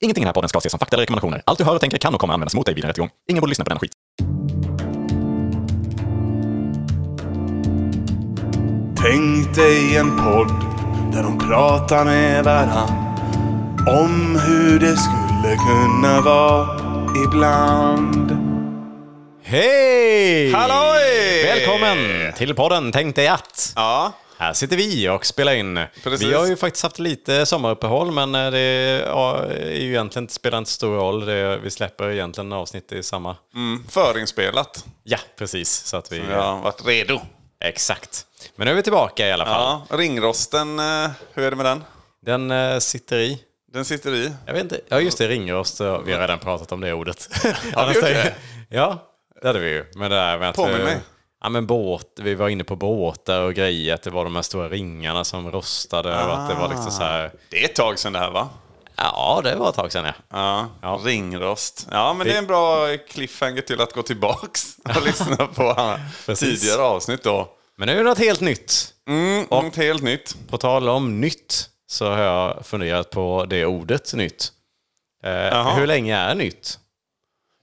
Ingenting i den här podden ska ses som fakta eller rekommendationer. Allt du hör och tänker kan och kommer användas mot dig vid en rättegång. Ingen borde lyssna på den skit. Tänk dig en podd där de pratar med varann om hur det skulle kunna vara ibland. Hej! Halloj! Välkommen till podden Tänk dig att. Ja, Här sitter vi och spelar in. Precis. Vi har ju faktiskt haft lite sommaruppehåll, men eh, det ja, är ju egentligen, spelar inte stor roll. Det, vi släpper egentligen avsnitt i samma... mm, förinspelat. Ja, precis. Så att vi... Jag har varit redo. Exakt. Men nu är vi tillbaka i alla fall. Ja, ringrosten, eh, hur är det med den? Den eh, sitter i. Den sitter i. Jag vet inte. Ja, just det. Ringrost. eh, Vi har redan pratat om det ordet. Har gjort det? Ja, det hade vi ju. Men det där med att... Påminn eh, mig. Ja, men båt. Vi var inne på båtar och grejer. Att det var de här stora ringarna som rostade och att det var liksom så här... Det är ett tag sedan det här va? Ja, det var ett tag sedan ja. Ja, Ja. ringrost. Ja, men det är en bra cliffhanger till att gå tillbaks och lyssna på eh, Precis. tidigare avsnitt då. Men nu är det något helt nytt. Mm, något helt nytt. På tal om nytt så har jag funderat på det ordet nytt. Eh, Jaha. hur länge är nytt?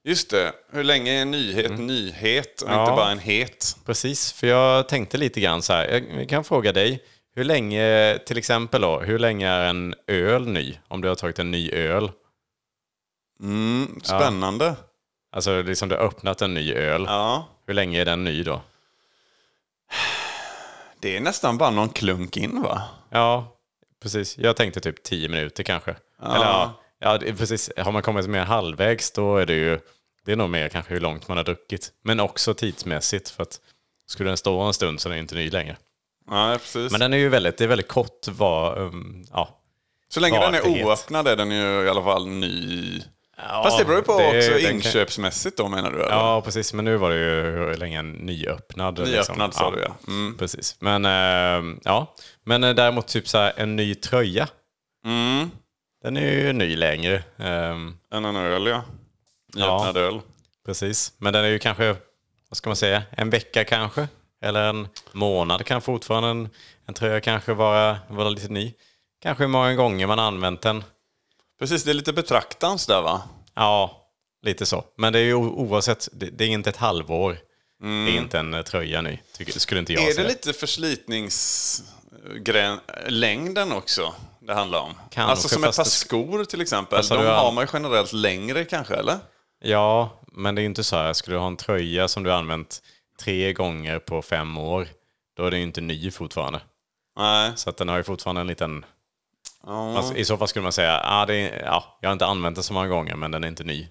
Just det, hur länge är en nyhet nyhet och Ja. inte bara en het? Precis, för jag tänkte lite grann så här. Jag jag kan fråga dig, hur länge, till exempel då, hur länge är en öl ny? Om du har tagit en ny öl. Mm, spännande. Alltså liksom du har öppnat en ny öl. Ja. Hur länge är den ny då? Det är nästan bara någon klunk in va? Ja, precis. Jag tänkte typ 10 minuter kanske. Eller ja, ja det, är precis. Har man kommit mer halvvägs då är det ju, det är nog mer kanske hur långt man har druckit. Men också tidsmässigt för att skulle den stå en stund så är den inte ny längre. Ja, precis. Men den är ju väldigt, det är väldigt kort vad, um, ja. Så länge den är Valfrihet. oöppnad är den ju i alla fall ny. Fast det beror ju på det- också den kan- inköpsmässigt då menar du? Eller? Ja, precis. Men nu var det ju hur länge en nyöppnad. liksom. Nyöppnad sa du ja. Mm. Precis. Men, eh, ja. Men eh, däremot typ så här en ny tröja. Mm. Den är ju ny längre. Ehm, En annan öl ja. Nyöppnad öl. Precis, men den är ju kanske, vad ska man säga, en vecka kanske? Eller en månad kan fortfarande en, en tröja kanske vara, vara lite ny. Kanske hur många gånger man har använt den. Precis, det är lite betraktans där va? Ja, lite så. Men det är ju o- oavsett, det, det är inte ett halvår. Det är inte en eh, tröja ny, tycker, skulle inte jag Mm. är säga. det lite förslitningslängden också det handlar om? Kanske, alltså som ett fast par det- skor till exempel. Fast har De du- har man ju generellt längre kanske eller? Ja, men det är ju inte så här, skulle du ha en tröja som du har använt tre gånger på fem år, då är den ju inte ny fortfarande. Nej. Så att den har ju fortfarande en liten Ja. Alltså, I så fall skulle man säga ah, det är, ja, jag har inte använt den så många gånger men den är inte ny.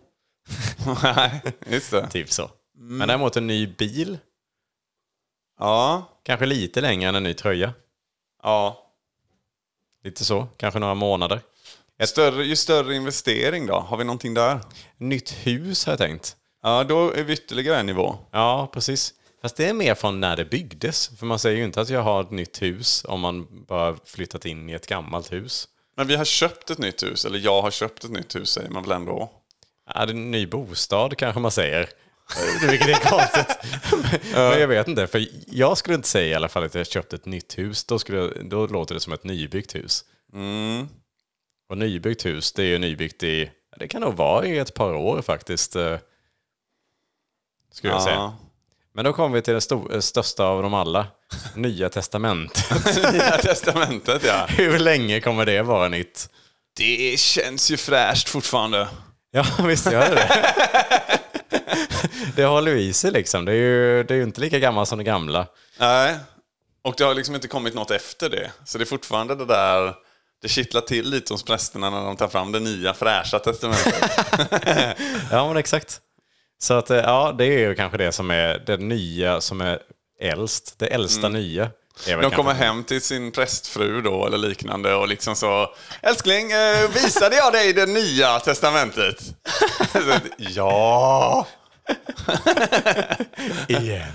Nej, just det. Typ så. Men däremot en ny bil, Ja. kanske lite längre än en ny tröja. ja. Lite så, kanske några månader. Större, ju större investering då? Har vi någonting där? Nytt hus har jag tänkt. Ja, då är vi ytterligare en nivå. Ja, precis. Fast det är mer från när det byggdes. För man säger ju inte att jag har ett nytt hus om man bara flyttat in i ett gammalt hus. Men vi har köpt ett nytt hus, eller jag har köpt ett nytt hus säger man väl ändå? Ja, det är en ny bostad kanske man säger. Eh, Vilket är konstigt. Men jag vet inte, för jag skulle inte säga i alla fall att jag köpt ett nytt hus. Då, skulle jag, då låter det som ett nybyggt hus. Och nybyggt hus, det är ju nybyggt i, det kan nog vara i ett par år faktiskt. eh, Skulle jag säga. Ja. Men då kommer vi till den stor, eh, största av dem alla. Nya testamentet. Nya testamentet ja. Hur länge kommer det vara nytt? Det känns ju fräscht fortfarande. Ja, visst gör det det. Det håller ju i sig liksom. Det är ju, det är ju inte lika gammalt som det gamla. Nej. Och det har liksom inte kommit något efter det. Så det är fortfarande det där, det kittlar till lite hos prästerna när de tar fram det nya fräscha testamentet. Ja, men exakt. Så att, eh, ja, det är ju kanske det som är det nya som är äldst. Det äldsta nya. är väl Mm. De kanske- kommer hem till sin prästfru då eller liknande och liksom så Älskling, eh, visade jag dig det nya testamentet? Så, ja. Igen.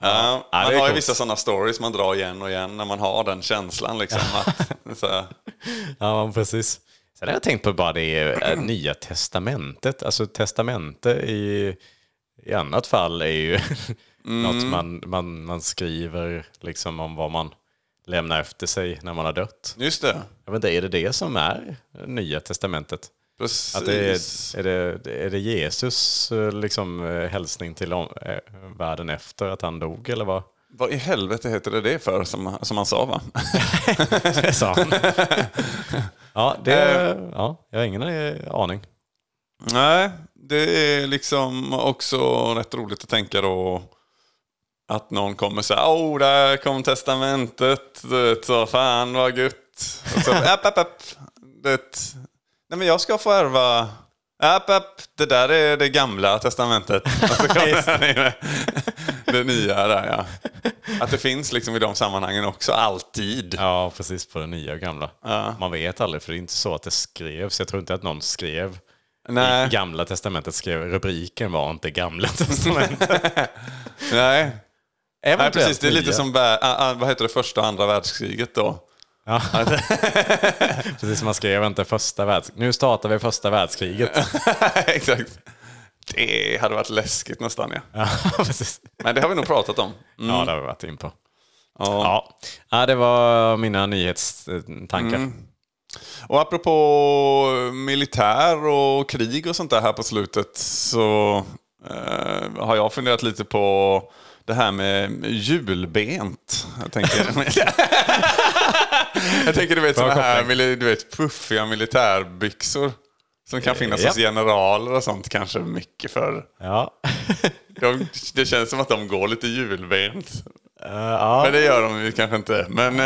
Ja, det man är har ju coolt. vissa sådana stories man drar igen och igen när man har den känslan. Liksom, att, så, här, Ja, men precis. Sen har jag tänkt på bara det eh, nya testamentet. Alltså testamente i, i annat fall är ju Mm. något man, man, man skriver liksom om vad man lämnar efter sig när man har dött. just det. Jag vet inte, är det det som är Nya Testamentet? Precis. Att det är, är, det, är det Jesus eh, liksom, eh, hälsning till om, eh, världen efter att han dog eller vad? Vad i helvete heter det det för som, som han sa va? Det sa han. ja, det, ja, jag har ingen eh, aning. Nej, det är liksom också rätt roligt att tänka då att någon kommer så här, åh, där kom testamentet, det, så fan vad gött. Och så, app, app, app, det, nej men jag ska få ärva, app, app, det där är det gamla testamentet. Och så kommer det, med det nya där ja. Att det finns liksom i de sammanhangen också, alltid. Ja, precis på det nya och gamla. Ja. Man vet aldrig, för det är inte så att det skrevs. Jag tror inte att någon skrev. Nej. I Gamla testamentet skrev rubriken var inte Gamla testamentet. Nej, Nej, Eventuellt precis. Det är lite nya. som bä- ah, ah, vad heter det, första och andra världskriget då. Ja. precis som man skrev inte första världskriget. Nu startar vi första världskriget. Exakt. Det hade varit läskigt nästan ja. Ja, precis. Men det har vi nog pratat om. Mm. Ja, det har vi varit in på. Ja. Ja. ja, det var mina nyhetstankar. Mm. Och apropå militär och krig och sånt där här på slutet så eh, har jag funderat lite på det här med julbent. Jag tänker, jag tänker du vet Bra sådana här mili- du vet, puffiga militärbyxor. Som kan finnas hos Eh, Ja. generaler och sånt kanske mycket för. Ja. De, det känns som att de går lite julbent. Eh, ja. Men det gör de ju kanske inte. Men,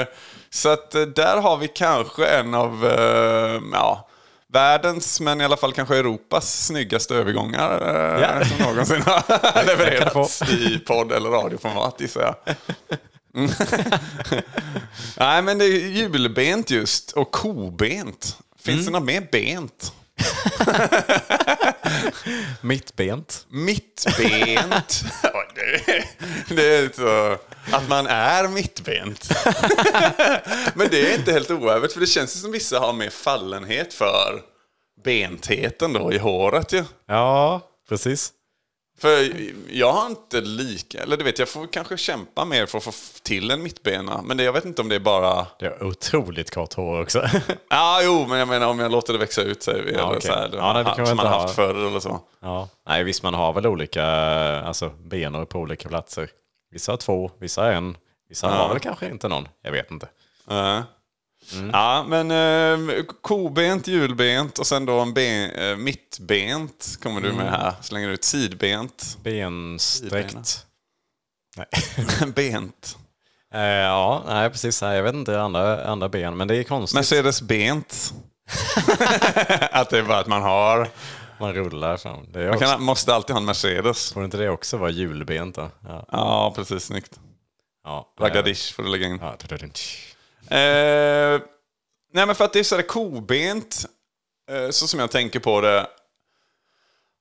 eh, så att eh, där har vi kanske en av eh, ja, världens, men i alla fall kanske Europas snyggaste övergångar eh, Ja. som någonsin har levererats få. i podd eller radioformat gissar jag. Mm. Nej men det är julbent just och kobent. Finns Mm. det något mer bent? Mittbent. Mittbent. Ja, det, det är så att man är mittbent. Men det är inte helt oävet för det känns ju som vissa har mer fallenhet för bentheten då i håret ju. Ja, precis. För jag har inte lika, eller du vet jag får kanske kämpa mer för att få till en mittbena. Men det, jag vet inte om det är bara Det är otroligt kort hår också. Ja, ah, jo, men jag menar om jag låter det växa ut sig. eller okej. så här, Ja, nej, det kan man som man inte ha. haft förr eller så. ja. Nej, visst man har väl olika alltså, benor på olika platser. Vissa har två, vissa har en. Vissa har väl kanske inte någon. Jag vet inte. Ja. Ja, men eh, kobent, julbent och sen då en ben, eh, mittbent kommer du med här. Slänger ut sidbent. Sidbena. Bensträckt. Nej. bent. Eh, ja, nej, precis. Nej, Jag vet inte andra, andra ben, men det är konstigt. Mercedes-bent. att det är bara att man har. Man rullar fram. Det är Man också, kan, måste alltid ha en Mercedes. Borde inte det också vara julbent då? Ja. Ja, precis. Snyggt. Ja. Raggadish får du lägga in. Ja, tududun. Eh, nej men för att det är sådär kobent, eh, så som jag tänker på det,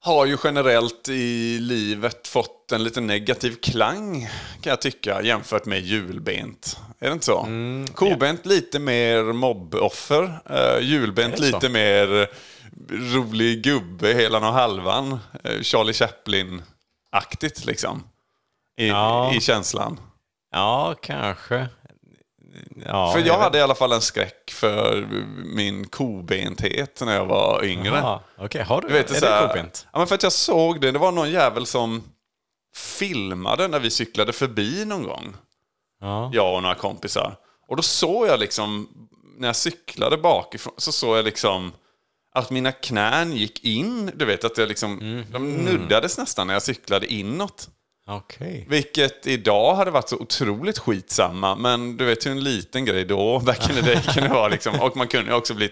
har ju generellt i livet fått en lite negativ klang kan jag tycka jämfört med julbent. Är det inte så? Mm, kobent lite mer mobboffer, eh, julbent Är det så? lite mer rolig gubbe, helan och halvan, eh, Charlie Chaplin-aktigt liksom. I, Ja. I känslan. ja, kanske. Ja, För jag vet- hade i alla fall en skräck för min kobenthet när jag var yngre. Ja, Okej, har du? Du vet, är så här- det kobent? Ja, men för att jag såg det. Det var någon jävel som filmade när vi cyklade förbi någon gång. Ja. Jag och några kompisar. Och då såg jag liksom, när jag cyklade bakifrån, så såg jag liksom att mina knän gick in. Du vet, att jag liksom, Mhm. de nuddades nästan när jag cyklade inåt. Okej. Vilket idag hade varit så otroligt skitsamma, men du vet hur en liten grej då, back in the day, kunde vara liksom. Och man kunde ju också bli,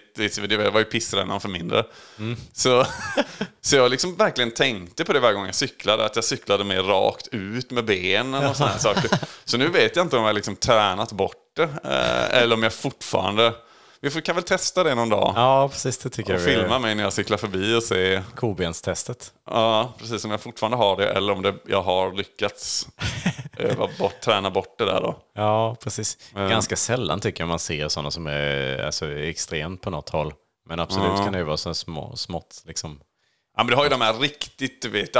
det var ju pissrännan för mindre. Mm. Så, så jag liksom verkligen tänkte på det varje gång jag cyklade, att jag cyklade mer rakt ut med benen och sådana saker. Så nu vet jag inte om jag liksom tränat bort det, eh, eller om jag fortfarande... Vi får, kan väl testa det någon dag. Ja, precis. Det tycker Och jag. vi- filma mig när jag cyklar förbi och se Kobenstestet. Ja, precis. Om jag fortfarande har det eller om det, jag har lyckats öva bort, träna bort det där då. Ja, precis. Ganska sällan tycker jag man ser sådana som är alltså, extremt på något håll. Men absolut kan det ju vara så små, smått liksom. Ja, men du har ju de här riktigt, du vet,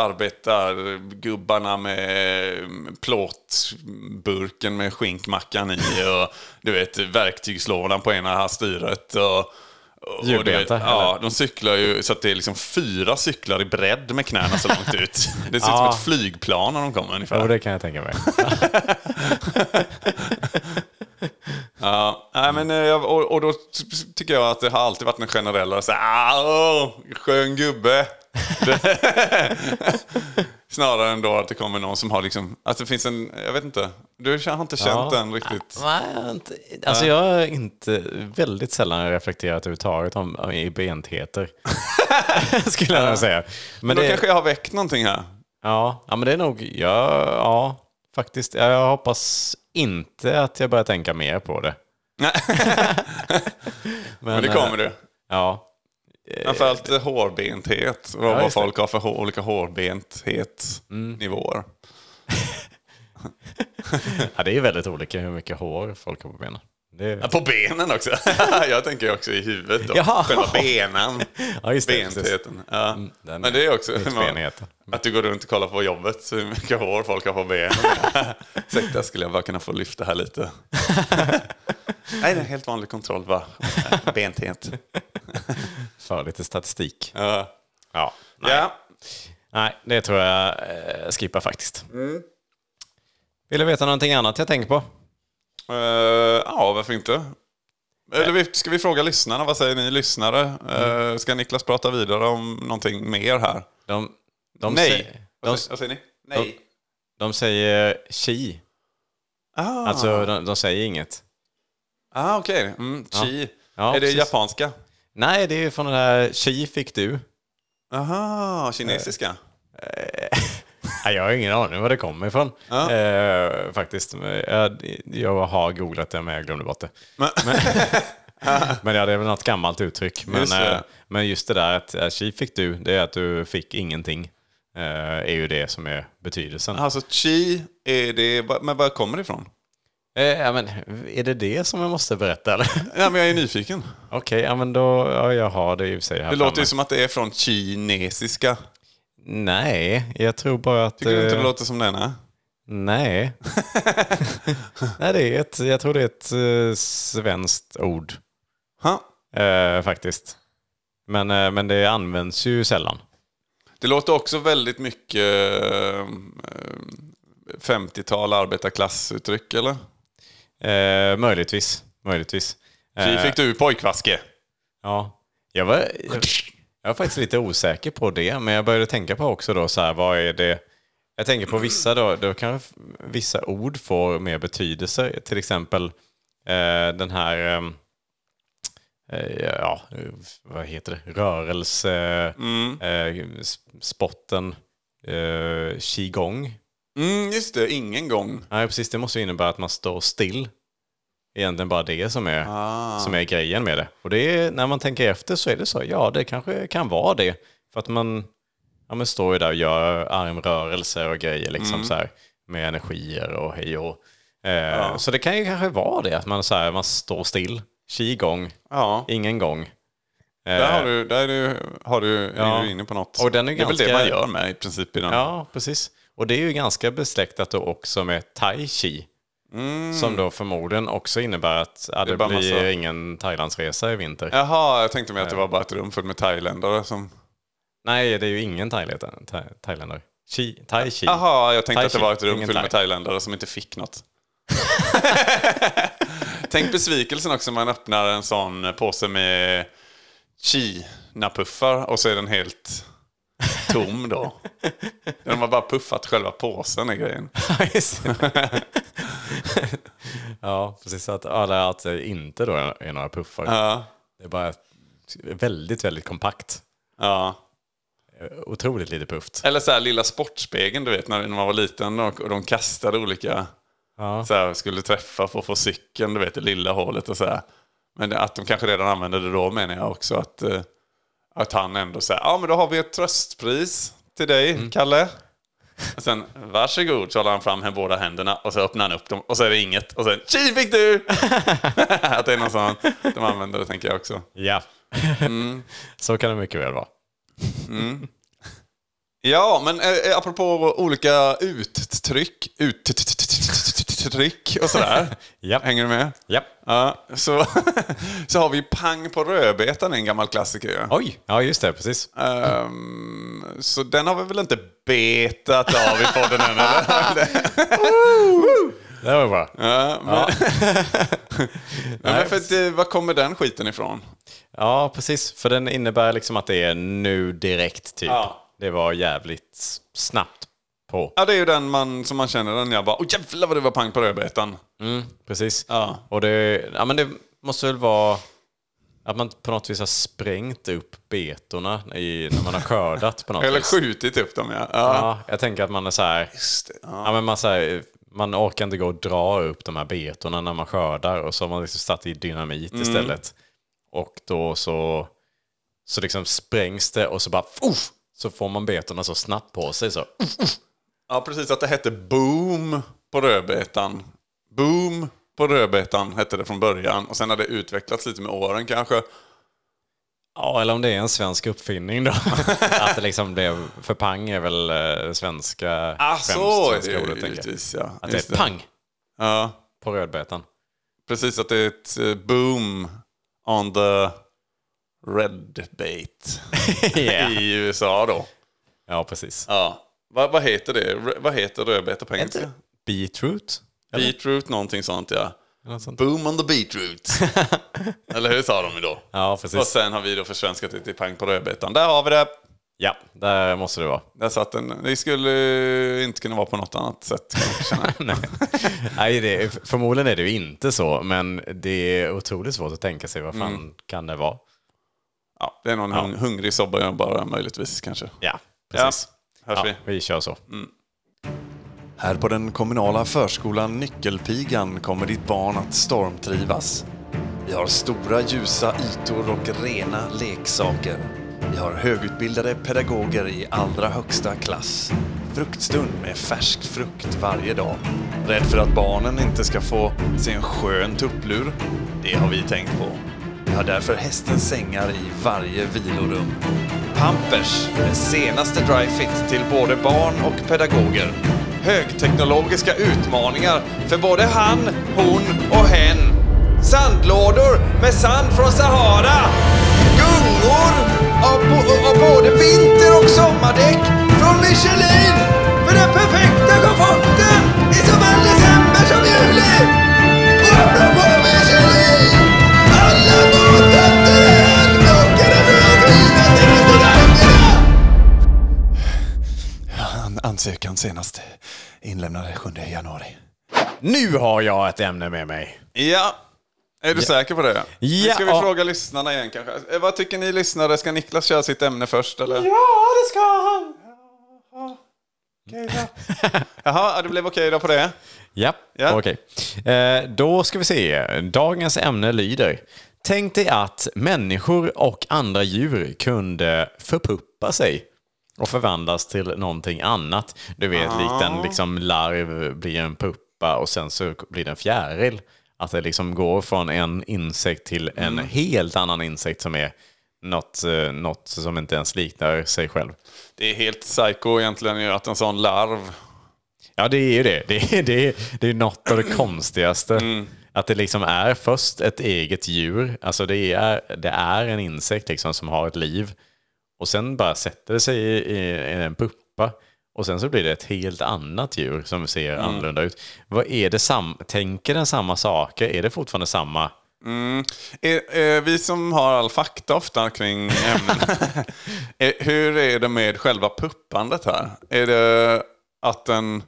arbetargubbarna med mm, plåtburken med skinkmackan i och du vet, verktygslådan på ena här styret och Och du Djurbenta, vet, eller? Ja, de cyklar ju så att det är liksom fyra cyklar i bredd med knäna så långt ut. Det ser ut som Ja. ett flygplan när de kommer ungefär. Jo, det kan jag tänka mig. Ja, nej, men, eh, jag- och, och då ty- tycker jag att det har alltid varit en generell så här, "Ah, åh, skön gubbe. Det- Snarare än då att det kommer någon som har liksom, att det finns en, jag vet inte, du har inte känt den riktigt. Nej, jag har inte- alltså jag har inte väldigt sällan reflekterat överhuvudtaget om, om i bentheter. Skulle jag nog säga. Men Men då det, kanske jag har väckt någonting här. ja, ja, men det är nog, ja, ja faktiskt. Ja, Jag hoppas inte att jag börjar tänka mer på det. Nej, men det kommer eh, du. Ja, Framförallt eh, hårbenthet, och vad just det. folk har för hår, olika hårbenthetsnivåer. Mm. ja, det är väldigt olika hur mycket hår folk har på benen. Det är, På benen också. jag tänker ju också i huvudet då. Jaha. Själva benen. ja, just det. precis. Mm, Bentheten. Ja. den Men det är också Benheten. att du går runt och kollar på jobbet hur mycket hår folk har på benen. Ursäkta, skulle jag bara kunna få lyfta här lite? Nej, det är helt vanlig kontroll bara. Benthet. För lite statistik. Ja. Ja. ja. Nej, det tror jag eh, skippar faktiskt. Vill du veta någonting annat jag tänker på? Eh, ja, varför inte? Eller vi- ska vi fråga lyssnarna? Vad säger ni lyssnare? Mm. Eh, ska Niklas prata vidare om någonting mer här? De, de Nej. Säger, de, Vad säger, vad säger ni? de, de säger chi. Ah, Alltså, de, de säger inget. ah okej. Mm, chi. Ja, är det precis. japanska? Nej, det är ju från den här chi fick du. Aha, kinesiska. Eh. Nej, jag har ingen aning var det kommer ifrån. Ja. Eh, faktiskt. Jag, jag har googlat det, men jag glömde bort det. Men, Men ja, det är väl något gammalt uttryck. Men Just just, det. eh, men just det där att eh, chi fick du, det är att du fick ingenting. Eh, är ju det som är betydelsen. alltså chi, är det, men var kommer det ifrån? Eh, ja, men, är det det som jag måste berätta eller? Okej, Ja, men jag är nyfiken. ja, men då, ja, jag har det i och för sig här Det låter framme. ju som att det är från kinesiska. Nej, jag tror bara att... Tycker du inte eh, det låter som den är? Nej. nej, det är ett, jag tror det är ett eh, svenskt ord Ha? eh, faktiskt. Men, eh, men det används ju sällan. Det låter också väldigt mycket eh, 50-tal arbetarklassuttryck, eller? Eh, möjligtvis, möjligtvis. Chi Eh, fick du pojkvaske. Ja, jag var, jag, jag var faktiskt lite osäker på det, men jag började tänka på också då så här, vad är det... Jag tänker på vissa då, då kan f- vissa ord få mer betydelse, till exempel eh, den här, ehm, eh, ja, vad heter det, rörelse, eh, sp- spotten, eh, qigong. Mm, just det, ingen gång. Nej, precis, det måste ju innebära att man står still. Egentligen bara det som är som är grejen med det. Och det är, när man tänker efter så är det så, ja det kanske kan vara det. För att man, ja, man står ju där och gör armrörelser och grejer liksom Mm. så här, med energier och hej och. Eh, Så det kan ju kanske vara det, att man, så här, man står still, qigong, Ja, ingen gång. där, har Eh, du, där är du, har du, är Ja. du inne på något. Och den är det är väl det ganska- man gör med i princip i den. Eh, Ja, precis. Och det är ju ganska besläktat då också med tai chi. Mm. Som då förmodligen också innebär att ja, det, bara blir massa- ingen Thailandsresa i vinter. Jaha, jag tänkte mig att Eh. det var bara ett rum fullt med thailändare som... Nej, det är ju ingen thailändare. Tha- thailändare. Chi, tai chi. Jaha, jag tänkte Thai att det shit, var ett rum ingen fullt med thai. thailändare som inte fick något. Tänk besvikelsen också när man öppnar en sån påse med Kina-puffar och så är den helt tom då. De har bara puffat själva påsen i grejen. Just det. ja, precis. Så Att, alla, att det inte då är några puffar. Ja, Det är bara väldigt, väldigt kompakt. Eh, ja. Otroligt lite pufft. Eller så här lilla sportspegeln du vet när när man var liten och och de kastade olika Ja. så här, skulle träffa för att få cykeln, du vet det lilla hålet och så här. Men det- att de kanske redan använde det då menar jag också att, eh, att han ändå säger ja men då har vi ett tröstpris till dig Kalle. Och sen varsågod så håller han fram med båda händerna och så öppnar han upp dem och så är det inget och sen tji fick du! att det är någon sån de använder det tänker jag också. ja. Mm. Så kan det mycket väl vara. eh, Ja men eh, apropå olika uttryck, ut, trick och sådär. Japp. Hänger du med? Japp. Ja, så, så har vi Pang på rödbetan, en gammal klassiker ju. Oj, ja just det, precis. Ehm, så den har vi väl inte betat av i podden än eller? Det var bra. Ja, men, ja, men för att, eh, var kommer den skiten ifrån? Ja, precis. För den innebär liksom att det är nu direkt typ. Ja. Det var jävligt snabbt på. Ja, det är ju den man, som man känner den. Jag bara, åh jävlar vad det var pang på rödbetan. Mm, precis. Ja. Och det, ja, men det måste väl vara att man på något vis har sprängt upp betorna i, när man har skördat på något Eller vis. skjutit upp dem ja. ja. Ja, jag tänker att man är så här, Just det, ja. ja, men man, så här, man orkar inte gå och dra upp de här betorna när man skördar och så har man liksom satt i dynamit Mm. istället. Och då så, så liksom sprängs det och så bara uff, så får man betorna så snabbt på sig. Så, uff. Ja, precis. Att det hette Boom på rödbetan. Boom på rödbetan hette det från början. Och sen har det utvecklats lite med åren kanske. Ja, eller om det är en svensk uppfinning då. att det liksom blev, för pang är väl eh, svenska, Ah, främst så är det svenska ju ordet, tänker jag. givetvis. Ja. Att Just det är pang Ja, på rödbetan. precis. Att det är ett eh, boom on the red bait yeah. i USA då. Ja, precis. Ja. Vad vad heter det? Rö- Vad heter rödbeta på engelska? Beetroot? Eller? Beetroot någonting sånt ja. Eller något sånt. Boom on the beetroot. Eller hur sa de ju då? Ja, Och precis. sen har vi då försvenskat det till pang på rödbetan. Där har vi det. Ja, där måste det vara. Där satt den. Det skulle inte kunna vara på något annat sätt. kan jag känna. Nej. Nej, det, förmodligen är det ju inte så, men det är otroligt svårt att tänka sig vad fan Mm. kan det vara. ja, det är någon hung- hungrig sobbajönbara möjligtvis kanske. Ja, Ja, Mm. precis. hörs Ja, vi. vi kör så. Här på den kommunala förskolan Nyckelpigan kommer ditt barn att stormtrivas. Vi har stora ljusa ytor och rena leksaker. Vi har högutbildade pedagoger i allra högsta klass. Fruktstund med färsk frukt varje dag. Rädd för att barnen inte ska få se en skön tupplur? Det har vi tänkt på. Vi har därför hästens sängar i varje vilorum. Pampers, den senaste dryfit till både barn och pedagoger. Högteknologiska utmaningar för både han, hon och hen. Sandlådor med sand från Sahara. Gungor av, bo- av både vinter och sommardäck från Michelin. För den perfekta komforten i såväl december som juli. Bubbla på Michelin! Alla maträtter är handplockade från de finaste restaurangerna! An- ansökan senast inlämnad 7 januari. Nu har jag ett ämne med mig. Ja, är du säker på det? Nu ska vi Ja. fråga lyssnarna igen kanske. Eh, Vad tycker ni lyssnare? Ska Niklas köra sitt ämne först eller? Ja, det ska han! Jaha, ja, det blev okej då på det. Ja, Ja. okej. Eh, då ska vi se. Dagens ämne lyder. Tänk dig att människor och andra djur kunde förpuppa sig och förvandlas till någonting annat. Du vet, likt en liksom, larv blir en puppa och sen så blir den fjäril. Att det liksom går från en insekt till en helt annan insekt som är något, eh, något som inte ens liknar sig själv. Det är helt psycho egentligen ju att en sån larv... Ja, det är ju det. Det är, det är, det är något av det konstigaste. Att det liksom är först ett eget djur, alltså det är, det är en insekt liksom som har ett liv. Och sen bara sätter det sig i, i, i en puppa. Och sen så blir det ett helt annat djur som ser annorlunda ut. Vad är det sam Tänker den samma saker? Är det fortfarande samma? Är, är vi som har all fakta ofta kring ämnen. Eh, Hur är det med själva puppandet här? Är det att den...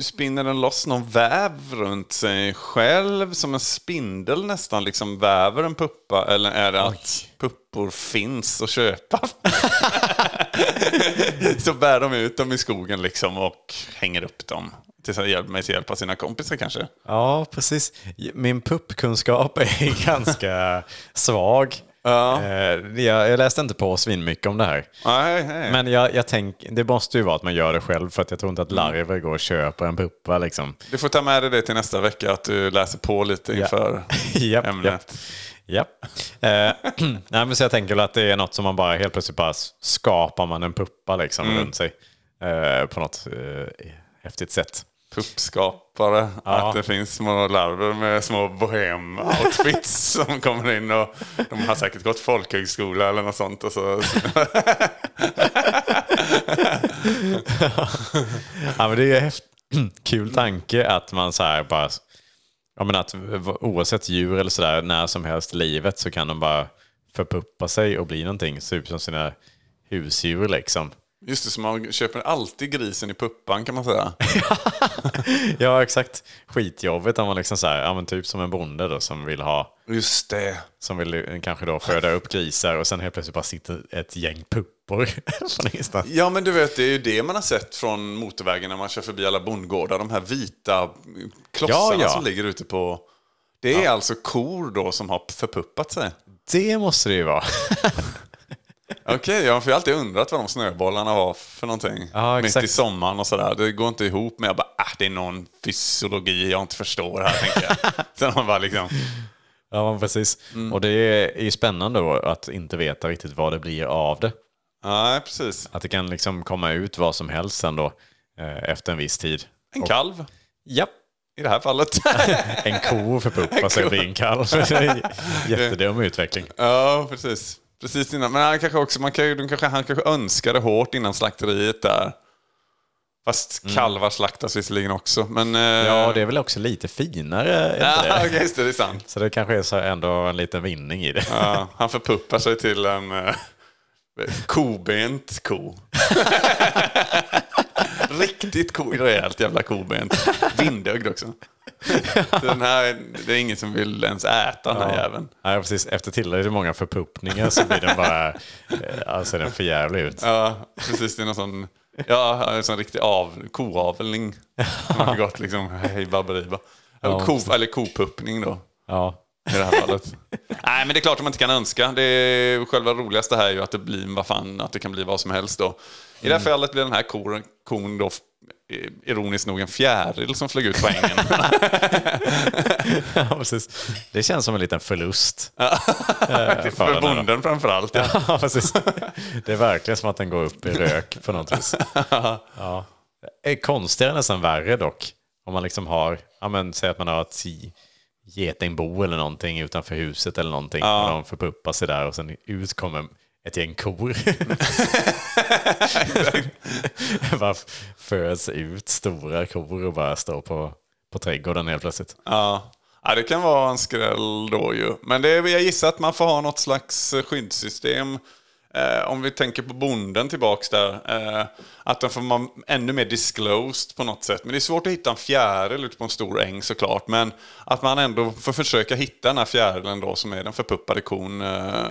Spinner den loss någon väv runt sig själv? Som en spindel nästan liksom väver en puppa? Eller är det att puppor finns att köpa? Så bär de ut dem i skogen liksom och hänger upp dem. Tills de hjälper mig till hjälp av sina kompisar kanske. Ja, precis. Min puppkunskap är ganska svag. Ja. Eh, Jag, jag läste inte på svinmycket om det här. Nej, nej. Men jag, jag tänker, det måste ju vara att man gör det själv för att jag tror inte att larver går och köper en puppa liksom. Du får ta med dig det till nästa vecka, att du läser på lite inför japp, ämnet. Japp. japp. Eh, nej, men så jag tänker väl att det är något som man bara helt plötsligt bara s- Mm. skapar man en puppa liksom runt sig. Eh, på något eh, häftigt sätt. puppskapare. Att det finns små larver med små bohem-outfits som kommer in och de har säkert gått folkhögskola eller något sånt. Och så, Ja, men det är ju häft... kul tanke att man så här bara... Ja, men att v- oavsett djur eller sådär, när som helst i livet så kan de bara förpuppa sig och bli någonting. Se ut som sina husdjur liksom. just det, så man köper alltid grisen i puppan kan man säga. Ja, exakt. Skitjobbigt om man liksom så här, ja men typ som en bonde då som vill ha, Just det. som vill eh, kanske då föda upp grisar och sen helt plötsligt bara sitter ett gäng puppor från ingenstans. Ja men du vet det är ju det man har sett från motorvägen när man kör förbi alla bondgårdar. De här vita klossarna Ja, ja. som ligger ute på... Det är alltså kor då som har förpuppat sig. Det måste det ju vara. Okej, ja, för jag har alltid undrat vad de snöbollarna var för någonting. Ja, Mitt exakt. i sommaren och sådär. Det går inte ihop men jag bara, ah, det är någon fysiologi jag inte förstår här tänker jag. Sen har man bara liksom, Ja, men precis. Och det är är ju spännande då att inte veta riktigt vad det blir av det. nej precis. Att det kan liksom komma ut vad som helst sen då eh, efter en viss tid. En kalv Ja. i det här fallet. En ko förpuppar sig och blir en kalv. Det är en Jättedum utveckling. ja, precis. Precis innan. Men han kanske också, man kan, ju- de kanske, han kanske önskade hårt innan slakteriet där. Fast kalvar slaktas visserligen också. Men, eh, Mm. Ja, det är väl också lite finare. är inte Ja, det? okej, just det, det är sant. Så det kanske är så här ändå en liten vinning i det. Ja, han förpuppar sig till en eh, kobent ko. Riktigt ko, rejält jävla kobent. Vindögd också. Den här, det är ingen som vill ens äta den här jäveln. Ja, precis. Efter tillräckligt många förpuppningar så blir den bara... eh, Alltså den för jävlig ut. Ja, precis. Det är någon sån, ja, en sån riktig av, koavling. Man har gått liksom hej baberiba. Ja, ko, eller kopuppning då. Ja. i det här fallet. Nej, men det är klart att man inte kan önska. Det är, själva roligaste här är ju att det blir vad fan, att det kan bli vad som helst då. I det här fallet blir den här kor, kon då f- eh, ironiskt nog en fjäril som flög ut på ängen. ja, precis. Det känns som en liten förlust. För för bonden framför allt. Ja. Ja, precis. Det är verkligen som att den går upp i rök på något vis. Ja. Det är konstigare nästan värre dock. Om man liksom har, ja men säg att man har ett ge- getingbo eller någonting utanför huset eller någonting. Och de förpuppar sig där och sen ut kommer ett gäng kor. bara föds ut stora kor och bara står på, på trädgården helt plötsligt. Ja. ja, det kan vara en skräll då ju. Men det, är- jag gissar att man får ha något slags skyddssystem. Eh, om vi tänker på bonden tillbaks där. Eh, att den får man ännu mer disclosed på något sätt. Men det är svårt att hitta en fjäril ute på en stor äng såklart. Men att man ändå får försöka hitta den här fjärilen då som är den förpuppade kon. Eh,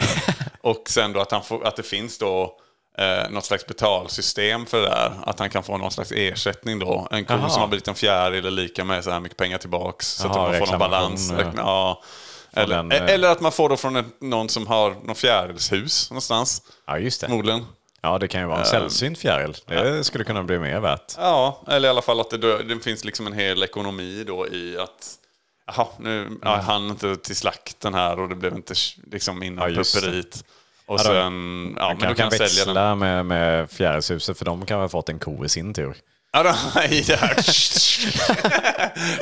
och sen då att, han får, att det finns då eh, något slags betalsystem för det där. Att han kan få någon slags ersättning då. En ko Aha. som har blivit en fjäril är lika med så här mycket pengar tillbaks. Så att Jaha, man får någon reklamation, balans. ja. Räkna- Ja. Eller, e- den, eh, eller att man får då från ett, någon som har någon fjärilshus någonstans. Ja, just det. Förmodligen. Ja, det kan ju vara en sällsynt fjäril. Det skulle kunna bli mer värt. Ja, eller i alla fall att det, dö- det finns liksom en hel ekonomi då i att Jaha, nu ja, han inte till slakten här och det blev inte sh- liksom innan Mm. Ja, just det. pupperiet. Och då- sen, ja men Man då kan kan jag sälja den. växla med, med fjärilshuset för de kan ha fått en ko i sin tur. Ja, då, i det här.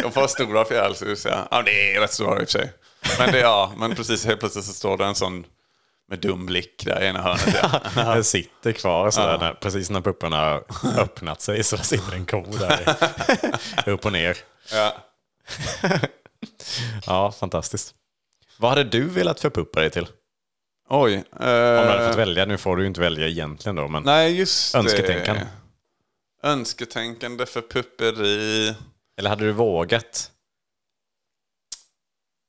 De får stora fjärilshus ja. ja. det är rätt stora i och för sig. Men det, ja, men precis helt plötsligt så står det en sån med dum blick där i ena hörnet. Ja. Den sitter kvar sådär, när, precis när pupporna har öppnat sig så sitter en ko där i- upp och ner. Ja. Ja, fantastiskt. Vad hade du velat förpuppa dig till? Om Oj. eh, du hade fått välja, nu får du ju inte välja egentligen då, men Nej, just Önsketänkande. det. Önsketänkande för pupperi. eller hade du vågat?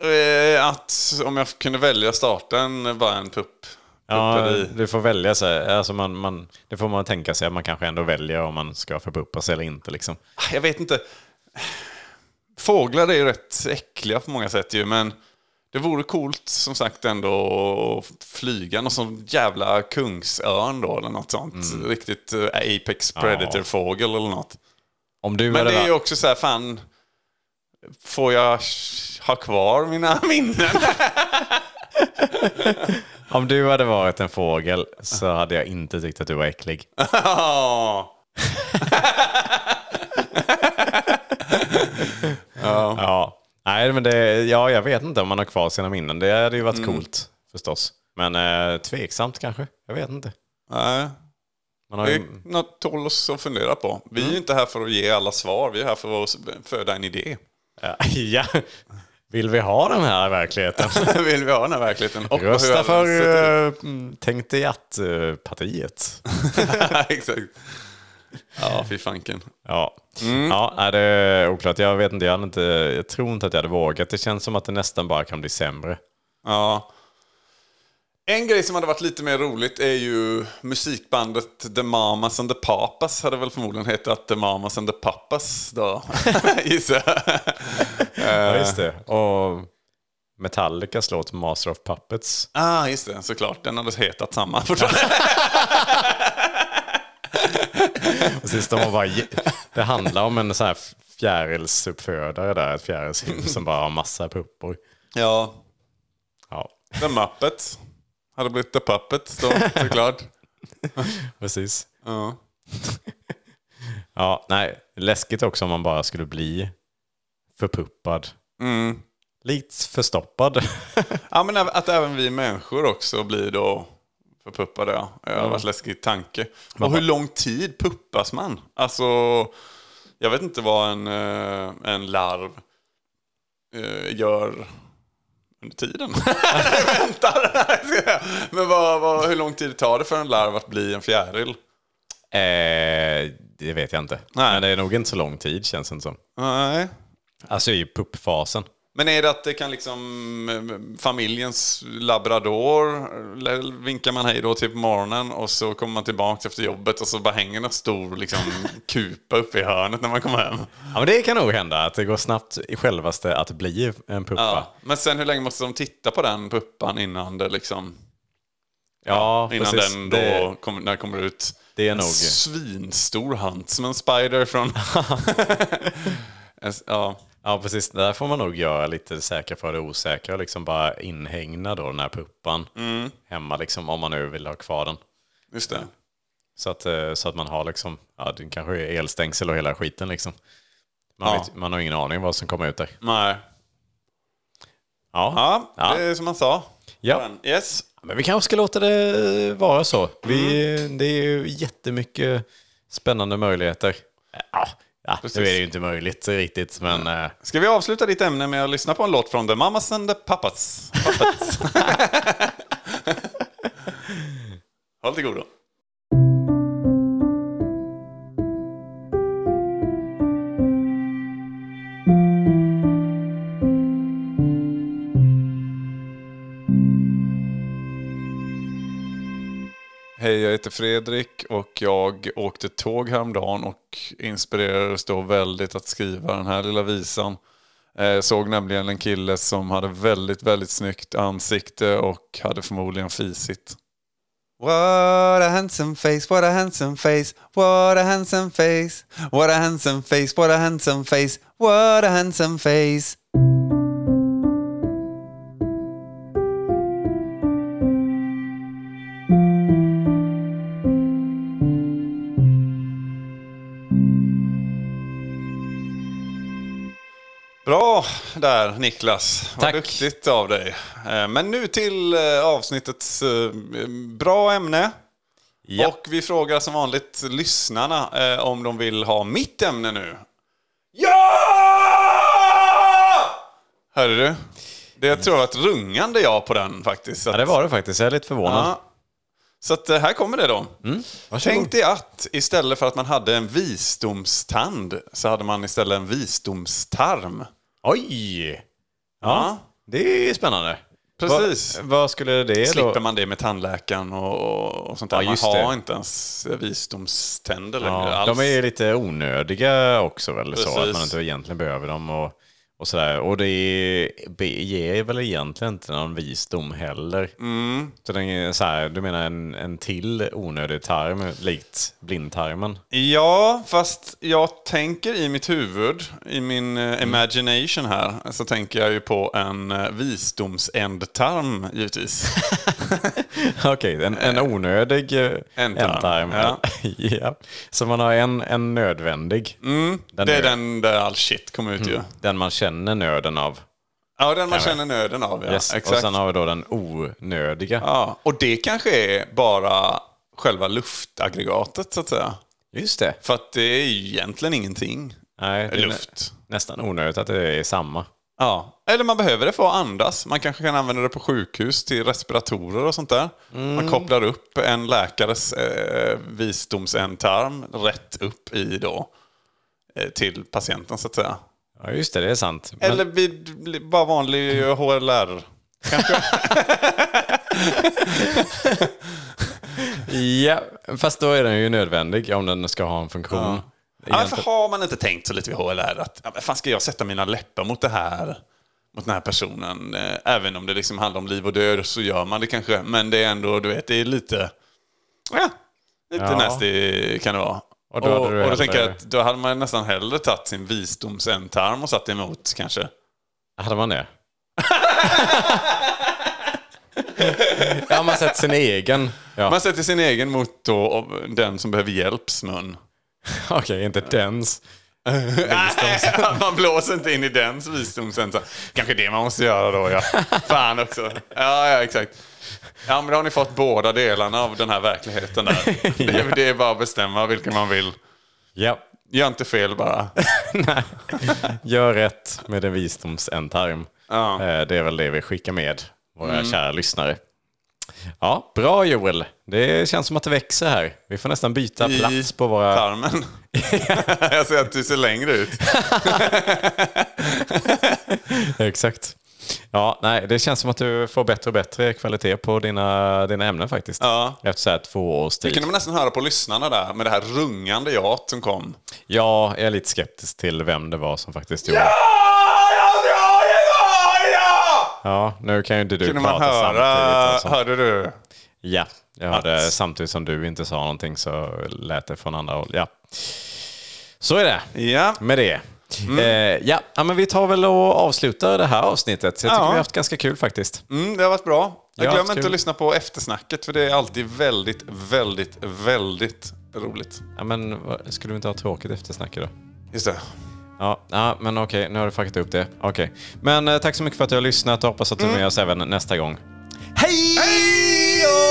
Eh, Att om jag kunde välja starten, bara en pupp. Ja, Pupperi. du får välja så här. Alltså man, man, det får man tänka sig att man kanske ändå väljer om man ska förpuppa sig eller inte. Liksom. Ah, Jag vet inte. Fåglar är ju rätt äckliga på många sätt ju, men det vore coolt som sagt ändå att flyga någon sån jävla kungsörn då eller något sånt. Mm. Riktigt eh, apex predator-fågel eller något. Om du Men hade det är varit- ju också så här, fan. Får jag ha kvar mina minnen? Om du hade varit en fågel så hade jag inte tyckt att du var äcklig. Ja. ja. Nej, men det, ja, jag vet inte om man har kvar sina minnen. Det hade ju varit Mm. coolt förstås. Men eh, tveksamt kanske. Jag vet inte. Nej, Man har det ju, är något tål oss att fundera på. Vi Mm. är ju inte här för att ge alla svar, vi är här för att föda en idé. ja, ja. Vill vi ha den här verkligheten? Vill vi ha den här verkligheten? Och Rösta hur för den ser ut. eh, mm, Tänk dig att-partiet. Exakt. Ja, fy fanken. Ja, Mm. ja är det är oklart. Jag vet inte, jag, hade inte, jag tror inte att jag hade vågat. Det känns som att det nästan bara kan bli sämre. Ja. En grej som hade varit lite mer roligt är ju musikbandet The Mamas and the Papas. Hade väl förmodligen hetat The Mamas and the Papas då, gissar jag. Ja, just det. Och Metallicas låt Master of Puppets. Ah, just det. Såklart. Den hade hetat samma fortfarande. Och sist de var bara, det handlar om en sån här fjärilsuppfödare där, ett fjärilshus som bara har massa puppor. Ja. Ja, The Muppets. Hade blivit The Puppets då, såklart. precis. Ja. Ja, nej, läskigt också om man bara skulle bli förpuppad. Mm. Likt förstoppad. ja, men även- att även vi människor också blir då förpuppade. Ja. Det har varit läskig tanke. Och hur lång tid puppas man? Alltså, jag vet inte vad en, eh, en larv eh, gör under tiden. Väntar! men vad, vad, hur lång tid tar det för en larv att bli en fjäril? eh, det vet jag inte. Nej. Men det är nog inte så lång tid känns det som. Nej. Alltså i puppfasen. Men är det att det kan liksom eh, familjens labrador, eller vinkar man hej då till på morgonen och så kommer man tillbaka efter jobbet och så bara hänger en stor liksom, kupa uppe i hörnet när man kommer hem. Ja, men det kan nog hända att det går snabbt i självaste att bli en puppa. Ja, Ja. Men sen hur länge måste de titta på den puppan innan det liksom... innan precis. den då Det, kommer, när det kommer ut. det är nog... Svinstor hand, som en spider från... ja. Ja, precis. Där får man nog göra lite säkra för det osäkra. och Liksom bara inhägna då den här puppan Mm. hemma, liksom, om man nu vill ha kvar den. Just det. Så att, eh, så att man har liksom, ja, det kanske är elstängsel och hela skiten liksom. Man, Ja. vet, man har ingen aning vad som kommer ut där. Nej. Ja. Ja, Ja. det är som man sa. Ja. Yes. Men vi kanske ska låta det vara så. Vi, Mm. Det är ju jättemycket spännande möjligheter. Ja, ja nu är det ju inte möjligt riktigt, men... eh, Ska vi avsluta ditt ämne med att lyssna på en låt från The Mamas and the Papas? Papas. Håll till godo. Hej, jag heter Fredrik och jag åkte tåg häromdagen och inspirerades då väldigt att skriva den här lilla visan. Eh, såg nämligen en kille som hade väldigt, väldigt snyggt ansikte och hade förmodligen fisit. What a handsome face, what a handsome face, what a handsome face, what a handsome face, what a handsome face, what a handsome face. Bra där Niklas, vad Tack. duktigt av dig. Eh, Men nu till eh, avsnittets eh, bra ämne. Ja. Och vi frågar som vanligt lyssnarna eh, om de vill ha mitt ämne nu. Ja! Hörde du? Det tror jag var ett rungande ja på den faktiskt. Så att- Ja, det var det Mm. faktiskt. Jag är lite förvånad. Ja. Så att, eh, här kommer det då. Varsågod. Tänk dig att istället för att man hade en visdomstand så hade man istället en visdomstarm. Oj! Ja, Ja. det är spännande. Precis. Vad, vad skulle det Slipper då? man det med tandläkaren och, och sånt där. Ja, man just har det. inte ens visdomständer längre Ja, alls. de är ju lite onödiga också väl? Så Precis. att man inte egentligen behöver dem. Och Och, sådär. och det är, be- ger väl egentligen inte någon visdom heller. Mm. Så den är så här, du menar en, en till onödig tarm, likt blindtarmen? Ja, fast jag tänker i mitt huvud, i min eh, Mm. imagination här, så tänker jag ju på en eh, visdomsändtarm givetvis. Okej, en, en onödig eh, Ändtarm, ändtarm. ja. Ja. Så man har en, en nödvändig. Den, Mm, Det är nöd- den där all shit kommer ut ju. den man känner nöden av. Ja, den man känner nöden av. Ja. Yes. Och Exakt. sen har vi då den onödiga. ja. och det kanske är bara själva luftaggregatet så att säga. Just det. För att det är ju egentligen ingenting. Nej, det är nä- Luft. nästan onödigt att det är samma. Ja. Eller man behöver det för att andas. Man kanske kan använda det på sjukhus till respiratorer och sånt där. Man kopplar upp en läkares eh, visdomsändtarm rätt upp i då eh, till patienten så att säga. Ja, just det. Det är sant. Men- Eller vid li- bara vanlig HLR. Ja, fast då är den ju nödvändig om den ska ha en funktion. Ja, Egentligen- varför har man inte tänkt så lite vid HLR? Att, ja, men fan ska jag sätta mina läppar mot det här? Mot den här personen. Eh, Även om det liksom handlar om liv och död så gör man det kanske. Men det är ändå, du vet, det är lite... Ja, lite Ja. nasty kan det vara. Och Och då, då hade och, du då hellre- tänker jag att då hade man nästan hellre tagit sin visdomsäntarm och satt emot kanske. Hade man det? ja, man sett sin egen. Ja. Man sätter sin egen mot då, den som behöver hjälps mun. Okej, inte dens. Nej, man blåser inte in i dens visdomsensam. Kanske det man måste göra då, ja. Fan också. Ja, ja, exakt. Ja, men då har ni fått båda delarna av den här verkligheten där. Det är, det är bara att bestämma vilken man vill. Ja, Gör inte fel bara. gör rätt med en visdomsäntarm. Ja. Mm. Eh, Det är väl det vi skickar med våra kära lyssnare. Ja, bra Joel. Det känns som att det växer här. Vi får nästan byta I plats på våra... Tarmen. Jag ser att du ser längre ut. Exakt. Ja, nej, det känns som att du får bättre och bättre kvalitet på dina, dina ämnen faktiskt. Ja. Efter så här två års Det tid. kunde man nästan höra på lyssnarna där med det här rungande jaet som kom. Ja, jag är lite skeptisk till vem det var som faktiskt gjorde. Ja, ja, ja, ja, ja! Ja, nu kan ju inte du Kunde prata man samtidigt. Och höra, sånt. hörde du? Ja, jag hörde samtidigt som du inte sa någonting så lät det från andra håll. Ja. Så är det Ja. med det. Mm. Eh, ja. ja, men vi tar väl och avslutar det här avsnittet. Jag tycker Ja. vi har haft ganska kul faktiskt. Mm, det har varit bra. Jag Ja, glöm kul. inte att lyssna på eftersnacket för det är alltid väldigt, väldigt, väldigt roligt. Ja, men vad- skulle vi inte ha tråkigt eftersnack idag? Just det. Ja, ja, men okej, nu har du fuckat upp det. Okej. Men eh, tack så mycket för att du har lyssnat och hoppas att du Mm. är med oss även nästa gång. Hej då!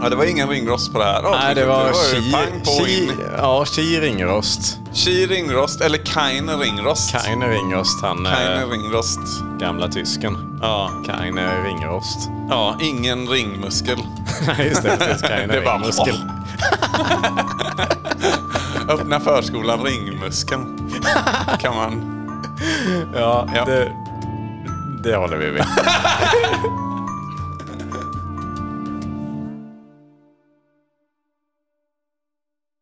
Ja, det var ingen ringrost på det här Nej, det avsnittet. var ju pang Chi... på chi in. ja, Chi Ringrost. Chi ringrost, eller Kain ringrost. Kainer Ringrost, han Kain eh, ringrost. gamla tysken. Ja. Kainer Ringrost. ja, ingen ringmuskel. Nej, just det. Precis, Kainer Det var- Ringmuskel. Öppna förskolan ringmuskeln. Kan man. Ja, Ja. Det, det håller vi med.